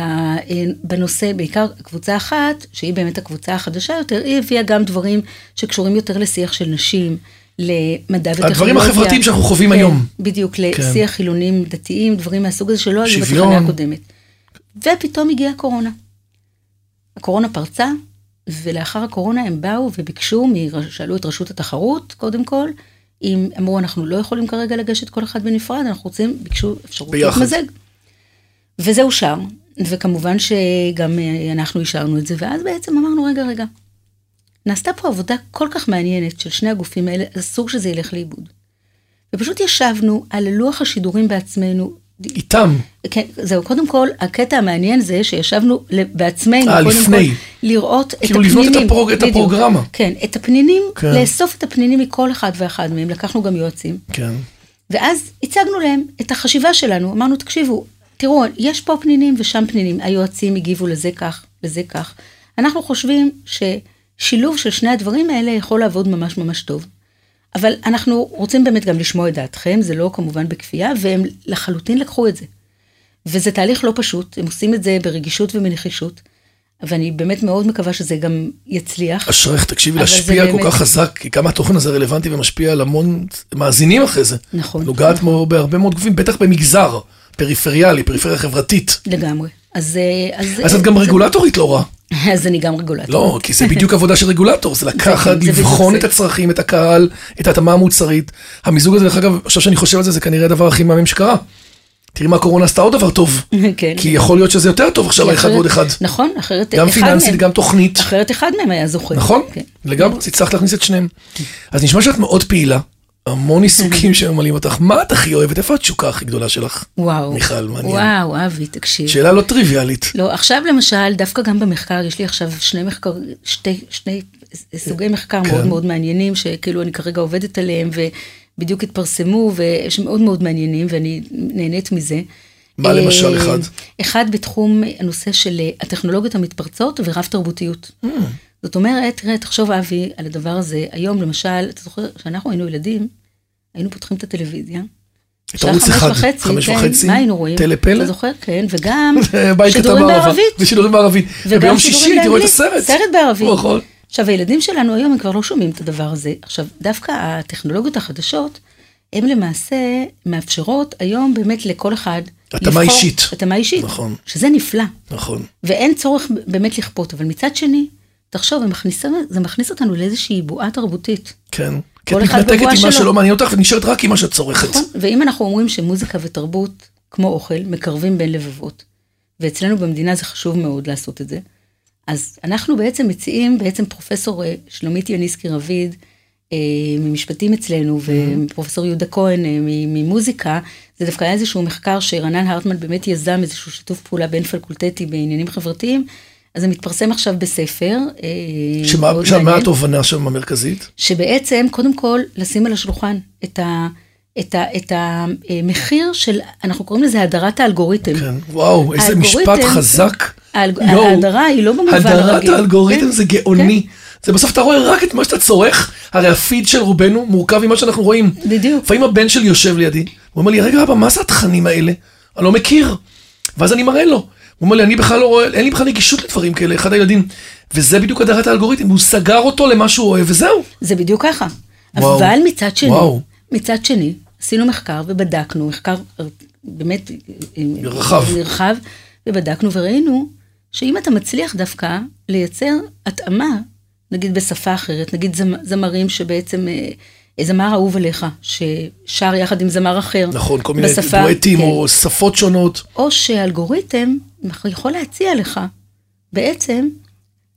בנושא, בעיקר קבוצה אחת, שהיא באמת הקבוצה החדשה יותר, היא הביאה גם דברים שקשורים יותר לשיח של נשים, למדע וטכנולוגיה. החברתיים שאנחנו חווים כן, היום. בדיוק, כן. לשיח חילונים דתיים, דברים מהסוג הזה שלא היו שוויון. בתחנה הקודמת. ופתאום הגיעה הקורונה. הקורונה פרצה, ולאחר הקורונה הם באו וביקשו, מ- שאלו את רשות התחרות, קודם כל, אם אמרו, אנחנו לא יכולים כרגע לגשת כל אחד בנפרד, אנחנו רוצים, ביקשו אפשרות ביחד. להתמזג. וזה אושר, וכמובן שגם אה, אנחנו אישרנו את זה, ואז בעצם אמרנו, רגע, רגע, נעשתה פה עבודה כל כך מעניינת של שני הגופים האלה, אסור שזה ילך לאיבוד. ופשוט ישבנו על לוח השידורים בעצמנו. איתם. כן, זהו, קודם כל, הקטע המעניין זה שישבנו ל- בעצמנו, אה, קודם לפני. כל, לראות את כאילו הפנינים. לבנות את הפרוג- את בדיוק. הפרוגרמה. כן, את הפנינים, כן. כן. לאסוף את הפנינים מכל אחד ואחד מהם, לקחנו גם יועצים. כן. ואז הצגנו להם את החשיבה שלנו, אמרנו, תקשיבו, תראו, יש פה פנינים ושם פנינים, היועצים הגיבו לזה כך, לזה כך. אנחנו חושבים ששילוב של שני הדברים האלה יכול לעבוד ממש ממש טוב. אבל אנחנו רוצים באמת גם לשמוע את דעתכם, זה לא כמובן בכפייה, והם לחלוטין לקחו את זה. וזה תהליך לא פשוט, הם עושים את זה ברגישות ובנחישות, ואני באמת מאוד מקווה שזה גם יצליח. אשריך, תקשיבי, אבל זה להשפיע כל באמת- כך חזק, כי כמה התוכן הזה רלוונטי ומשפיע על המון מאזינים אחרי זה. נכון. נוגעת מו- בהרבה מאוד גופים, בטח במגזר פריפריאלי, פריפריה חברתית. לגמרי. אז... אה, אז את גם רגולטורית לא רע. אז אני גם רגולטור. לא, כי זה בדיוק עבודה של רגולטור, זה לקחת, זה בדיוק לבחון זה. את הצרכים, את הקהל, את ההתאמה המוצרית. המיזוג הזה, דרך אגב, עכשיו שאני חושב על זה, זה כנראה הדבר הכי מהמם שקרה. תראי מה הקורונה עשתה עוד דבר טוב. *laughs* כן. כי יכול להיות שזה יותר טוב עכשיו, האחד אחרת- ועוד אחד. נכון, אחרת גם אחד פיננסית, מהם- גם תוכנית. אחרת אחד מהם היה זוכה. נכון? כן. לגמרי, הצלחת להכניס את שניהם. אז נשמע שאת מאוד פעילה, המון *laughs* עיסוקים שממלאים אותך. מה את הכי אוהבת? איפה התשוקה הכי גדולה שלך? וואו. מיכל, מעניין. וואו, אבי, תקשיב. שאלה לא *laughs* טריוויאלית. לא, עכשיו למשל, דווקא גם במחקר, יש לי עכשיו שני מחקר, שתי, שני סוגי מחקר כן. מאוד מאוד מעניינים, שכאילו אני כרגע עובדת עליהם, ובדיוק התפרסמו, ושמאוד מאוד מעניינים, ואני נהנית מזה. מה למשל אה, אחד? אחד בתחום הנושא של אה, הטכנולוגיות המתפרצות ורב תרבותיות. אה. זאת אומרת, תראה, תחשוב אבי על הדבר הזה, היום למשל, אתה זוכר, כשאנחנו היינו ילדים, היינו פותחים את הטלוויזיה. Mm. את שעה ערוץ חמש אחד, וחצי, חמש כן, וחצי, מה היינו רואים? טלפלא? אתה זוכר? כן, וגם *laughs* בית קטן שידורים בערבה. בערבית. ושידורים בערבית. וגם וביום שידורים שישי הייתי רואה את באנגלית, הסרט. סרט בערבית. נכון. עכשיו, הילדים שלנו היום, הם כבר לא שומעים את הדבר הזה. עכשיו, דווקא הטכנולוגיות החדשות, הן למעשה מאפשרות היום באמת לכל אחד התאמה אישית. התאמה אישית. נכון. שזה נפלא, נכון. ואין צורך באמת לכפות. אבל מצד שני, תחשוב, הם מכניסים- זה מכניס אותנו לאיזושהי בועה תרבותית. כן. כי את כל אחד מתנתקת בבועה עם מה שלו. שלא מעניין אותך ונשארת רק עם מה שאת צורכת. נכון? ואם אנחנו אומרים שמוזיקה ותרבות, כמו אוכל, מקרבים בין לבבות, ואצלנו במדינה זה חשוב מאוד לעשות את זה, אז אנחנו בעצם מציעים, בעצם פרופסור אה, שלומית יוניסקי רביד, אה, ממשפטים אצלנו, Mm-hmm. ופרופסור יהודה כהן אה, מ- ממוזיקה, זה דווקא היה איזשהו מחקר שרנן הרטמן באמת יזם איזשהו שיתוף פעולה בין פלקולטטי בעניינים חברתיים, אז זה מתפרסם עכשיו בספר. אה, שמה מאוד שמה מעניין. התובנה שם המרכזית? שבעצם קודם כל לשים על השולחן את, ה, את, ה, את המחיר של, אנחנו קוראים לזה הדרת האלגוריתם. כן. וואו, איזה האלגוריתם- משפט חזק. האלג- יואו. ההדרה היא לא במובן הדרת הרגיל. האלגוריתם כן, זה כן. גאוני. זה בסוף אתה רואה רק את מה שאתה צורך, הרי הפיד של רובנו מורכב ממה שאנחנו רואים. בדיוק. לפעמים הבן שלי יושב לידי, הוא אומר לי, רגע אבא, מה זה התכנים האלה? אני לא מכיר. ואז אני מראה לו. הוא אומר לי, אני בכלל לא רואה, אין לי בכלל נגישות לדברים כאלה, אחד הילדים. וזה בדיוק הדרת האלגוריתם, הוא סגר אותו למה שהוא אוהב, וזהו. זה בדיוק ככה. וואו. אבל מצד שני, וואו. מצד שני, עשינו מחקר ובדקנו, מחקר באמת אה, רחב. נרחב, ובדקנו וראינו שאם אתה מצליח דווקא לייצר התאמה, נגיד בשפה אחרת, נגיד זמ- זמרים שבעצם, אה, אה, זמר אהוב עליך, ששר יחד עם זמר אחר. נכון, כל מיני בשפה, דואטים כן. או שפות שונות. או שהאלגוריתם יכול להציע לך בעצם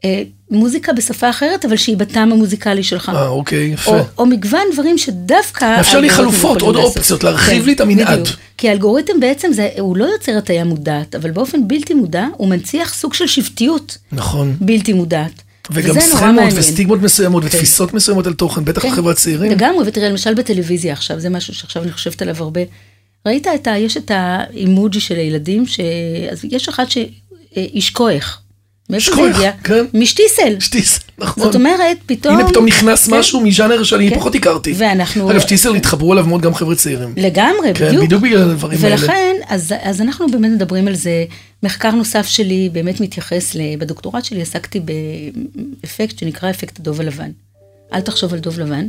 אה, מוזיקה בשפה אחרת, אבל שהיא בטעם המוזיקלי שלך. אה, אוקיי, יפה. או, או מגוון דברים שדווקא... לאפשר לי האלגוריתם חלופות, יכולים עוד לעשות. כן, אופציות, להרחיב לי את המנעד. בדיוק. כי האלגוריתם בעצם, זה, הוא לא יוצר הטעיה מודעת, אבל באופן בלתי מודע, הוא מנציח סוג של שבטיות נכון. בלתי מודעת. וגם וזה נורא סכמות מעניין. כן. וסטיגמות מסוימות ותפיסות מסוימות על תוכן, בטח בחברת צעירים. לגמרי, ותראה, למשל בטלוויזיה עכשיו, זה משהו שעכשיו אני חושבת עליו הרבה. ראית את ה... יש את האימוג'י של הילדים, ש... אז יש אחת שאיש כוח. מאיפה זה איש כוח, הגיע? כן. משטיסל. שטיס, נכון. זאת אומרת, פתאום... הנה פתאום נכנס כן. משהו מז'אנר שאני כן. פחות הכרתי. ואנחנו- אגב, שטיסל התחברו אליו מאוד גם חבר'ה צעירים. לגמרי, כן, בדיוק. בדיוק בגלל הדברים האלה. ולכן, אז, אז אנחנו באמת מדברים על זה. מחקר נוסף שלי באמת מתייחס, ל- בדוקטורט שלי עסקתי באפקט שנקרא אפקט הדוב הלבן. אל תחשוב על דוב לבן.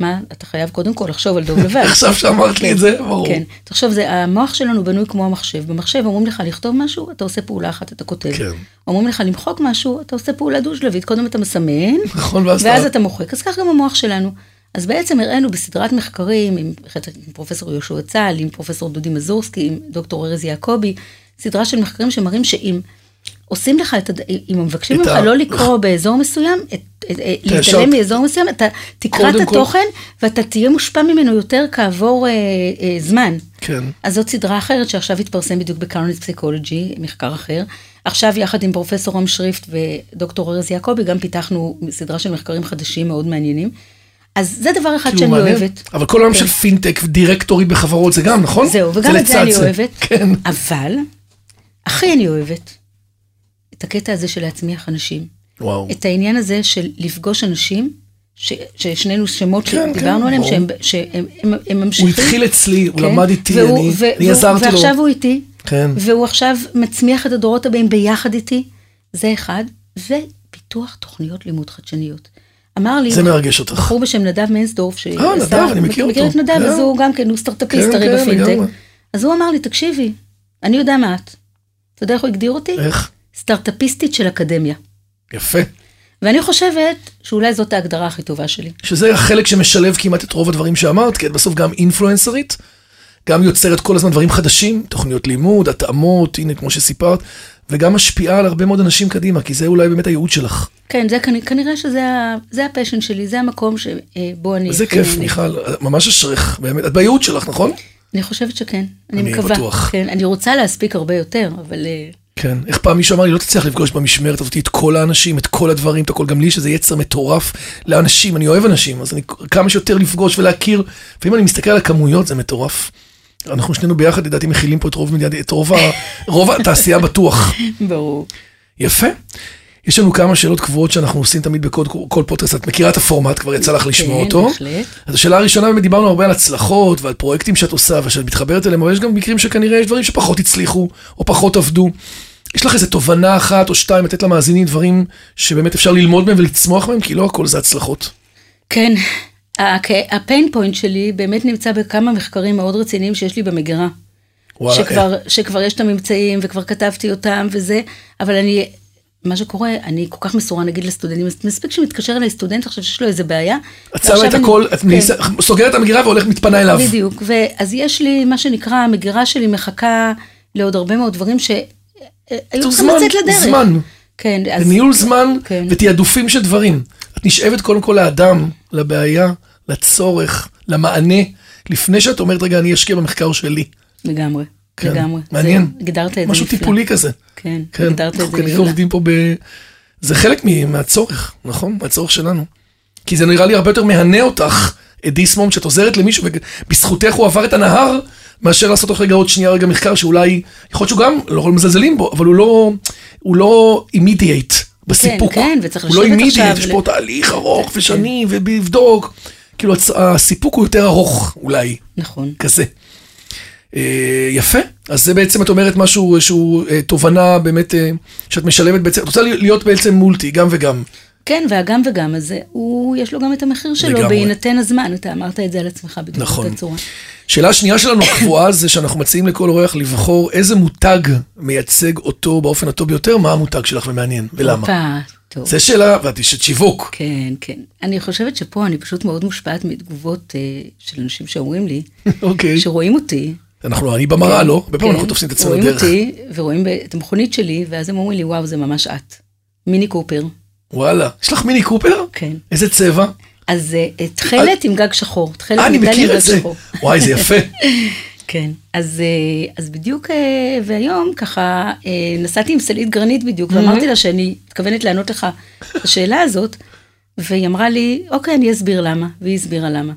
מה? אתה חייב קודם כל *laughs* לחשוב על דוב לבן. עכשיו שאמרת לי את זה, ברור. כן. תחשוב, זה, המוח שלנו בנוי כמו המחשב. במחשב אומרים לך לכתוב משהו, אתה עושה פעולה אחת, אתה כותב. כן. אומרים לך למחוק משהו, אתה עושה פעולה דו-שלבית. קודם אתה מסמן, נכון, ואז ואז אתה- אתה מוחק. אז כך גם המוח שלנו. אז בעצם הראינו בסדרת מחקרים עם, עם פרופסור יהושע צהל, עם פרופסור דודי מזורסקי, עם דוקטור ארז יעקבי, סדרה של מחקרים שמראים שאם עושים לך את, הד- אם מבקשים את ממך ה- לא לקרוא באזור מסוים, את, את, את, ישר- להתעלם מאזור מסוים, אתה תקרא את קודם כל- התוכן ואתה תהיה מושפע ממנו יותר כעבור אה, אה, זמן. כן. אז זאת סדרה אחרת שעכשיו התפרסם בדיוק בקרנט פסיקולוגי, מחקר אחר. עכשיו יחד עם פרופסור רם שריפט ודוקטור ארז יעקבי גם פיתחנו סדרה של מחקרים חדשים מאוד מעניינים. אז זה דבר אחד כאילו, שאני מעניין. אוהבת. אבל כל העולם כן. של פינטק ודירקטורית בחברות זה גם, נכון? זהו, וגם את זה לצד אני אוהבת. כן. אבל, הכי אני אוהבת, את הקטע הזה של להצמיח אנשים. וואו. את העניין הזה של לפגוש אנשים, ש, ששנינו שמות כן, שדיברנו כן, עליהם, ברור. שהם, שהם הם, הם ממשיכים. הוא התחיל אצלי, הוא כן. למד איתי, והוא- אני- ו- אני והוא- עזרתי לו. ועכשיו הוא איתי, כן. והוא עכשיו מצמיח את הדורות הבאים ביחד איתי, זה אחד, ופיתוח תוכניות לימוד חדשניות. אמר לי, זה מרגש אותך. בחור בשם נדב מיינסדורף, ש... אה, נדב, עשה- אני מכיר מכיר אותו. את נדב, כן. אז הוא גם כן, הוא סטארטאפיסט כן, הרי כן, בפינטק. לגמרי. אז הוא אמר לי, תקשיבי, אני יודע מה את. אתה יודע איך הוא הגדיר אותי? איך? סטארטאפיסטית של אקדמיה. יפה. ואני חושבת שאולי זאת ההגדרה הכי טובה שלי. שזה החלק שמשלב כמעט את רוב הדברים שאמרת, כי את בסוף גם אינפלואנסרית, גם יוצרת כל הזמן דברים חדשים, תוכניות לימוד, התאמות, הנה כמו שסיפרת, וגם משפיעה על הרבה מאוד אנשים קדימה, כי זה אולי באמת הייעוד שלך. כן, זה כנ- כנראה שזה ה- זה הפשן שלי, זה המקום שבו אני... וזה הכי כיף, נהנית. מיכל, ממש אשריך, באמת. את בייעוד שלך, נכון? אני חושבת שכן, אני אני מקווה. בטוח. כן, אני רוצה להספיק הרבה יותר, אבל אה, כן. איך פעם מישהו אמר לי, לא תצליח לפגוש במשמרת הזאת את כל האנשים, את כל הדברים, את הכל, גם לי, שזה יצר מטורף לאנשים, אני אוהב אנשים, אז אני כמה שיותר לפגוש ולהכיר, ואם אני מסתכל על הכמויות, זה מטורף. אנחנו שנינו ביחד, לדעתי, מכילים פה את רוב מדינת, את רוב, ה, רוב התעשייה בטוח. ברור. יפה. יש לנו כמה שאלות קבועות שאנחנו עושים תמיד בכל כל פודקאסט. את מכירה את הפורמט, כבר יצא לך לשמוע כן, אותו. בהחלט. אז השאלה הראשונה, באמת דיברנו הרבה על הצלחות ועל פרויקטים שאת עושה ושאת מתחברת אליהם, אבל יש גם מקרים שכנראה יש דברים שפחות הצליחו או פחות עבדו. יש לך איזו תובנה אחת או שתיים לתת למאזינים דברים שבאמת אפשר ללמוד מהם ולצמוח מהם, כי לא הכל זה הצלחות. כן, הכ- הפיין פוינט שלי באמת נמצא בכמה מחקרים מאוד רציניים שיש לי במגירה. וואלה, שכבר, שכבר יש את הממצאים וכבר כתבתי אותם וזה, אבל אני, מה שקורה, אני כל כך מסורה נגיד לסטודנטים, מס- מספיק שמתקשר אליי סטודנט עכשיו שיש לו איזה בעיה. את שמה את ועכשיו הכל, אני- כן. את מניסה- סוגרת את המגירה והולכת מתפנה אליו. בדיוק, ואז יש לי מה שנקרא, המגירה שלי מחכה לעוד הרבה מאוד דברים שהיו צריכים זמן, לצאת לדרך. זמן. כן, זה ניהול זמן כן. ותעדופים של דברים. את נשאבת קודם כל לאדם, לבעיה, לצורך, למענה, לפני שאת אומרת, רגע, אני אשקיע במחקר שלי. לגמרי, כן, לגמרי. מעניין. זה- הגדרת את זה נפלא. משהו טיפולי כזה. כן, כן, הגדרת את אנחנו זה כנראה נפלא. עובדים פה ב... זה חלק מ- מהצורך, נכון? מהצורך שלנו. כי זה נראה לי הרבה יותר מהנה אותך, את דיסמום, שאת עוזרת למישהו, ובזכותך הוא עבר את הנהר, מאשר לעשות לך רגע עוד שנייה רגע מחקר שאולי, יכול להיות שהוא גם, לא מזלזלים בו, אבל הוא לא, הוא לא אימידיאט בסיפוק. כן, וצריך הוא לא לשבת immediate, עכשיו כן. יש ל- פה תהליך ארוך ושנים, ולבדוק. כאילו, הצ- הסיפוק הוא יותר ארוך, אולי. נכון. כזה. אה, יפה, אז זה בעצם את אומרת משהו שהוא אה, תובנה באמת אה, שאת משלבת בעצם, את רוצה להיות בעצם מולטי, גם וגם. כן, והגם וגם הזה, הוא, יש לו גם את המחיר שלו לגמרי. בהינתן הזמן, אתה אמרת את זה על עצמך בדיוק נכון. באותה צורה. שאלה שנייה שלנו הקבועה זה שאנחנו מציעים לכל אורח לבחור איזה מותג מייצג אותו באופן הטוב ביותר, מה המותג שלך ומעניין, ולמה. הופה, טוב. זה שאלה, ואת אשת שיווק. כן, כן. אני חושבת שפה אני פשוט מאוד מושפעת מתגובות אה, של אנשים שאומרים לי, אוקיי. שרואים אותי. אנחנו, אני במראה, לא? הרבה פעמים כן, אנחנו תופסים את עצמנו רואים דרך. אותי ורואים את המכונית שלי, ואז הם אומרים לי, וואו, זה ממש את. מיני קופר, וואלה. יש לך מיני קופר? כן. איזה צבע? אז אה, אה, תכלת עם גג שחור, תכלת אה, אני מדליה עם מכיר את גג זה. שחור. וואי, זה יפה. כן, אז, אה, אז בדיוק, אה, והיום ככה אה, נסעתי עם סלעית גרנית בדיוק, ואמרתי Mm-hmm. לה שאני מתכוונת לענות לך לשאלה הזאת, והיא אמרה לי, אוקיי, אני אסביר למה, והיא הסבירה למה.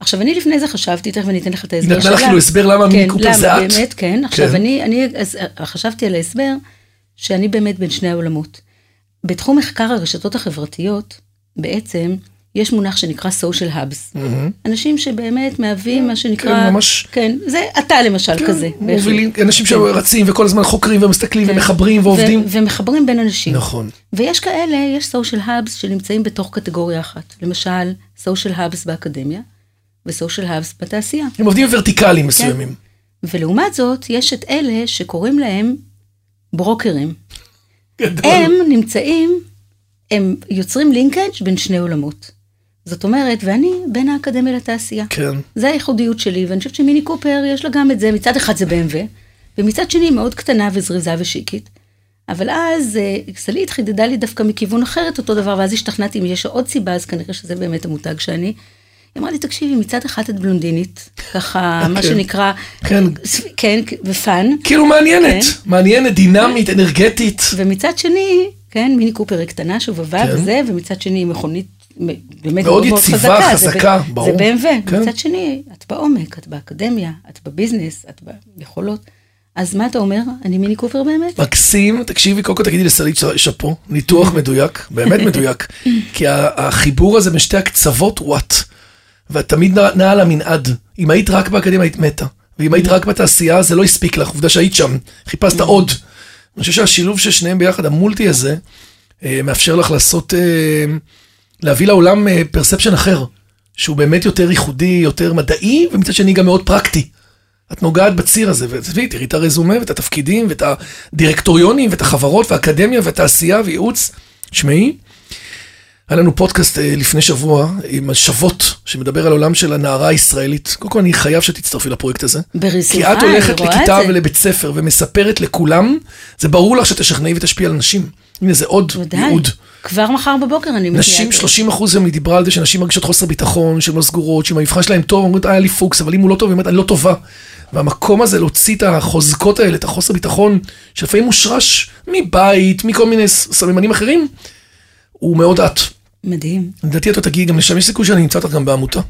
עכשיו, אני לפני זה חשבתי, תכף אני אתן לך את ההסבר נתנה שלה. לך כאילו הסבר למה מיני כן, קופר זה למה, את? באמת, כן. עכשיו, כן. אני, אני אז, אה, חשבתי על ההסבר שאני באמת בין שני העולמות. בתחום מחקר הרשתות החברתיות, בעצם, יש מונח שנקרא social hubs. אנשים שבאמת מהווים מה שנקרא... Mm-hmm. כן, ממש- כן, זה אתה למשל כן, כזה. בהחלט. מובילים, אנשים שרצים וכל הזמן חוקרים ומסתכלים כן. ומחברים ועובדים. ו- ומחברים בין אנשים. נכון. ויש כאלה, יש social hubs שנמצאים בתוך קטגוריה אחת. למשל, social hubs באקדמיה ו-social hubs בתעשייה. הם עובדים כן. ורטיקלים מסוימים. ולעומת זאת, יש את אלה שקוראים להם ברוקרים. גדול. הם נמצאים, הם יוצרים לינקג' בין שני עולמות. זאת אומרת, ואני בין האקדמיה לתעשייה. כן. זה הייחודיות שלי, ואני חושבת שמיני קופר יש לה גם את זה, מצד אחד זה BMW, ומצד שני היא מאוד קטנה וזריזה ושיקית. אבל אז אה, סלעית חידדה לי דווקא מכיוון אחר את אותו דבר, ואז השתכנעתי אם יש עוד סיבה, אז כנראה שזה באמת המותג שאני. היא אמרה לי, תקשיבי, מצד אחד את בלונדינית, ככה, מה כן. שנקרא, כן. כן, ופאן, כאילו מעניינת, כן. מעניינת, דינמית, אנרגטית. ומצד שני, כן, מיני קופר היא קטנה, שובבה כן. וזה, ומצד שני היא מכונית מ- באמת מאוד מאוד מאוד יציבה, חזקה. זה ב- חזקה, ברור. זה BMW. כן. מצד שני, את בעומק, את באקדמיה, את בביזנס, את ביכולות. אז מה אתה אומר? אני מיני קופר באמת? מקסים, תקשיבי, קודם כל תגידי לסלית ש- שאפו, ניתוח מדויק, באמת *laughs* מדויק, כי ה- החיבור הזה בין שתי הקצוות הוא את, ואת תמיד נע- נעה על המנעד. אם היית רק באקדמיה היית מתה, ואם היית רק בתעשייה זה לא הספיק לך, עובדה שהיית שם, כן. חיפשת עוד. אני חושב שהשילוב של שניהם ביחד, המולטי הזה, אה, מאפשר לך לעשות, אה, להביא לעולם אה, פרספשן אחר, שהוא באמת יותר ייחודי, יותר מדעי, ומצד שני גם מאוד פרקטי. את נוגעת בציר הזה, ותראי, תראי את הרזומה ואת התפקידים ואת הדירקטוריונים ואת החברות והאקדמיה והתעשייה וייעוץ. שמעי, היה לנו פודקאסט אה, לפני שבוע עם השבות, שמדבר על עולם של הנערה הישראלית. קודם כל, אני חייב שתצטרפי לפרויקט הזה. כי בשמחה, את הולכת אני רואה לכיתה את זה. ולבית ספר ומספרת לכולם, זה ברור לך שתשכנעי ותשפיע על נשים. הנה, זה עוד ודאי. ייעוד. כבר מחר בבוקר אני מגיעה. נשים, 30 אחוז היום היא דיברה על זה שנשים מרגישות חוסר ביטחון, שהן לא סגורות, שאם המבחן שלהן טוב, אומרות, "אה, היה לי פוקס, אבל אם הוא לא טוב, היא אומרת, אני לא טובה. והמקום הזה להוציא את החוזקות האלה, את החוסר ביטחון, שלפעמים מושרש מבית, מכל מיני ס- סממנים אחרים, הוא מאוד את. מדהים. *laughs* לדעתי את עוד תגיעי גם לשם, יש סיכוי שאני אמצא אותך גם בעמותה.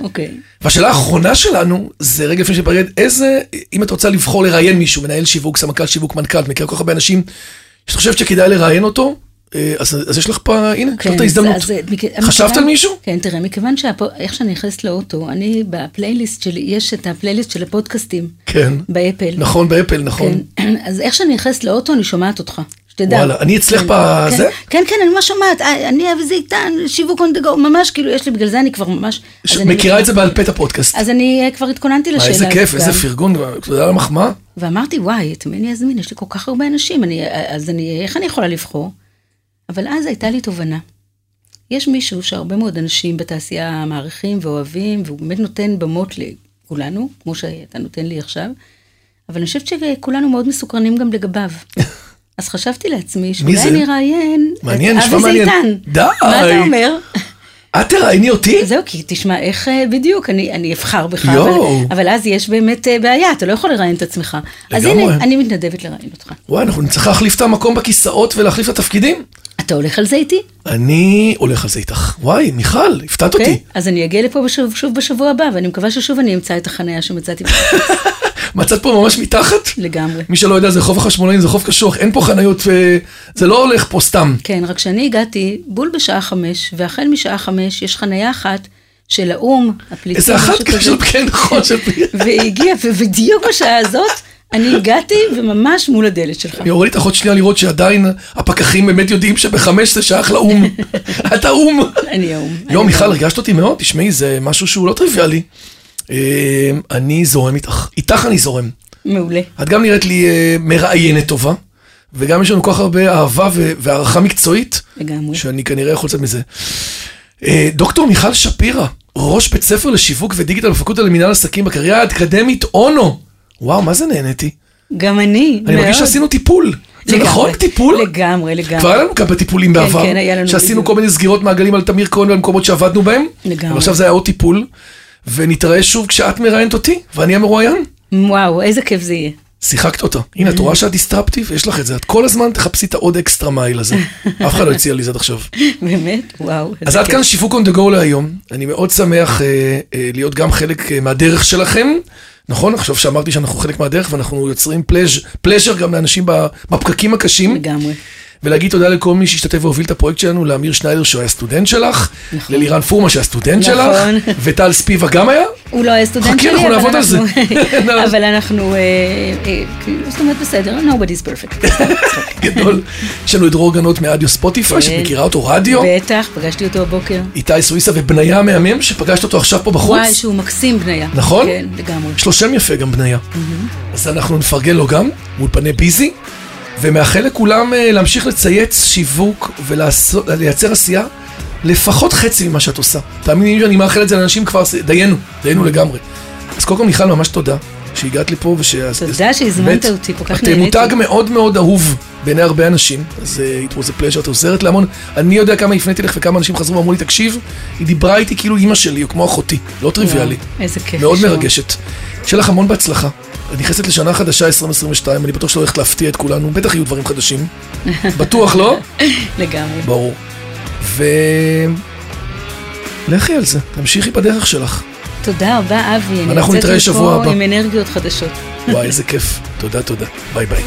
אוקיי. והשאלה האחרונה שלנו, זה רגע לפני שפרד, איזה, אם את רוצה לבחור לראיין מישהו, מנהל שיווק, סמנכ"ל שיווק, מנכ"ל, את מכירה כל כך הרבה אנשים, שאת חושבת שכדאי לראיין אותו, אה, אז, אז יש לך פה, הנה, יש לך את כן, ההזדמנות. אז- אז, מכ- חשבת מכיוון- על מישהו? כן, תראה, מכיוון שאיך שאני נכנסת לאוטו, אני בפלייליסט שלי, יש את הפלייליסט של הפודקאסטים. כן. באפל. נכון, באפל, נכון. כן, *clears throat* אז איך שאני נכנסת לאוטו, אני שומעת אותך. שתדע. וואלה, אני אצלך כן, בזה? כן, כן, כן, אני ממש שומעת. אה, אני אבי זיתן, שיווק on the go, ממש, כאילו, יש לי, בגלל זה אני כבר ממש... ש- אז אני- מכירה את זה בעל פה את הפודקאסט. אז אני אה, כבר התכוננתי לשאלה אה, הזאת איזה גם. כיף, איזה פרגון, תודה על המחמאה. ואמרתי, וואי, את מי אני אזמין? יש לי כל כך הרבה אנשים, אני, אז אני, איך אני יכולה לבחור? אבל אז הייתה לי תובנה. יש מישהו שהרבה מאוד אנשים בתעשייה מעריכים ואוהבים, והוא באמת נותן במות לכולנו, כמו שאתה נותן לי עכשיו, אבל אני חושבת שכולנו מאוד מסוקרנים *laughs* גם לגביו. אז חשבתי לעצמי זה? שאולי אני אראיין את מעניין, נשמע אבי מעניין. זיתן. די. מה אתה אומר? את תראייני אותי? זהו, כי תשמע, איך אה, בדיוק, אני, אני אבחר בך, אבל, יואו. אבל אז יש באמת אה, בעיה, אתה לא יכול לראיין את עצמך. אז לגמרי. הנה, אני מתנדבת לראיין אותך. וואי, אנחנו נצטרך להחליף את המקום בכיסאות ולהחליף את התפקידים? אתה הולך על זה איתי? אני הולך על זה איתך. וואי, מיכל, הפתעת אוקיי? אותי. אז אני אגיע לפה בשוב, שוב בשבוע הבא, ואני מקווה ששוב אני אמצא את החניה שמצאתי מצאת פה ממש מתחת? *laughs* לגמרי. מי שלא יודע, זה חוף החשמונאים, זה חוף קשוח, אין פה חניות, אה, זה לא הולך פה סתם. כן, רק שאני הגעתי בול בשעה חמש, והחל משעה חמש יש חניה אחת של האו"ם, הפליטים, איזה אחת משהו כזה. של כן, נכון, של והיא הגיעה, ובדיוק בשעה הזאת אני הגעתי, וממש מול הדלת שלך. אני הוריד אחות שנייה לראות שעדיין הפקחים באמת יודעים שבחמש זה שייך *laughs* לאו"ם. את האו"ם. אני האו"ם. יום, אני מיכל, האו"ם. הרגשת אותי מאוד, תשמעי, זה משהו שהוא לא טריוויאלי. אה, אני זורם איתך. איתך אני זורם. מעולה. את גם נראית לי אה, מראיינת טובה, וגם יש לנו כל כך הרבה אהבה ו- והערכה מקצועית, לגמרי. שאני כנראה יכול לצאת מזה. אה, דוקטור מיכל שפירא, ראש בית ספר לשיווק ודיגיטל בפקולטה למינהל עסקים בקריירה האקדמית אונו. וואו, מה זה נהניתי? גם אני, אני מרגיש מאוד. שעשינו טיפול. זה לגמרי. נכון? טיפול? לגמרי, לגמרי. כבר היה לנו כמה טיפולים בעבר, כן, היה לנו שעשינו בדיוק. כל מיני סגירות מעגלים על תמיר כהן במקומות שעבדנו בהם, לגמרי. אבל עכשיו זה היה עוד טיפול, ונתראה שוב כשאת מראיינת אותי, ואני המרואיין. וואו, איזה כיף זה יהיה. *laughs* שיחקת אותה. הנה, את רואה שאת דיסטרפטיב? יש לך את זה. את כל הזמן תחפשי את העוד אקסטרה מייל *laughs* הזה. אף אחד לא הציע לי זה עד עכשיו. באמת, וואו. אז איזה עד כיף. כאן שיווק on the go להיום. אני מאוד שמח אה, אה, להיות גם חלק אה, מהדרך שלכם. נכון? עכשיו שאמרתי שאנחנו חלק מהדרך ואנחנו יוצרים פלז'- פלז'ר גם לאנשים ב- בפקקים הקשים. לגמרי. ולהגיד תודה לכל מי שהשתתף והוביל את הפרויקט שלנו, לאמיר שניידר שהוא היה סטודנט שלך, נכון. ללירן פורמה שהיה סטודנט נכון. שלך, וטל ספיבה גם *laughs* היה. הוא לא היה סטודנט חכי, שלי, אנחנו אבל נעבוד על זה. *laughs* *laughs* אנחנו- אבל אנחנו, אה, אה, כאילו, זאת אומרת, בסדר, nobody's perfect. *laughs* גדול. יש לנו את דרור גנות מאדיו ספוטיפיי, שאת כן. מכירה אותו, רדיו. בטח, פגשתי אותו הבוקר. איתי סויסה ובניה המהמם, שפגשת אותו עכשיו פה בחוץ. וואי, שהוא מקסים בניה. נכון? כן, לגמרי. יש לו שם יפה גם בניה. אז אנחנו נפרגן לו גם, מאולפני ביזי, ומאחל לכולם אה, להמשיך לצייץ שיווק ולייצר עשייה לפחות חצי ממה שאת עושה. תאמיני לי, אני מאחל את זה לאנשים כבר, ס- דיינו, דיינו לגמרי. אז קודם כל מיכל, ממש תודה שהגעת לפה וש... תודה שהזמנת אותי, כל כך את אה, נהניתי. מותג מאוד מאוד אהוב בעיני הרבה אנשים, אז אה, it was a pleasure, את עוזרת להמון. אני יודע כמה הפניתי לך וכמה אנשים חזרו ואמרו לי, תקשיב, היא דיברה איתי כאילו אימא שלי או כמו אחותי, לא טריוויאלי. וואו, איזה כיף. מאוד לשמוע. מרגשת. שיהיה לך המון בהצלחה. את נכנסת לשנה חדשה 2022, אני בטוח שלא הולכת להפתיע את כולנו, בטח יהיו דברים חדשים. בטוח לא? לגמרי. ברור. ו... לכי על זה, תמשיכי בדרך שלך. תודה רבה, אבי. אני אנחנו יוצאת נתראה מפה שבוע הבא. עם אנרגיות חדשות. וואי, איזה כיף. תודה, תודה. ביי ביי.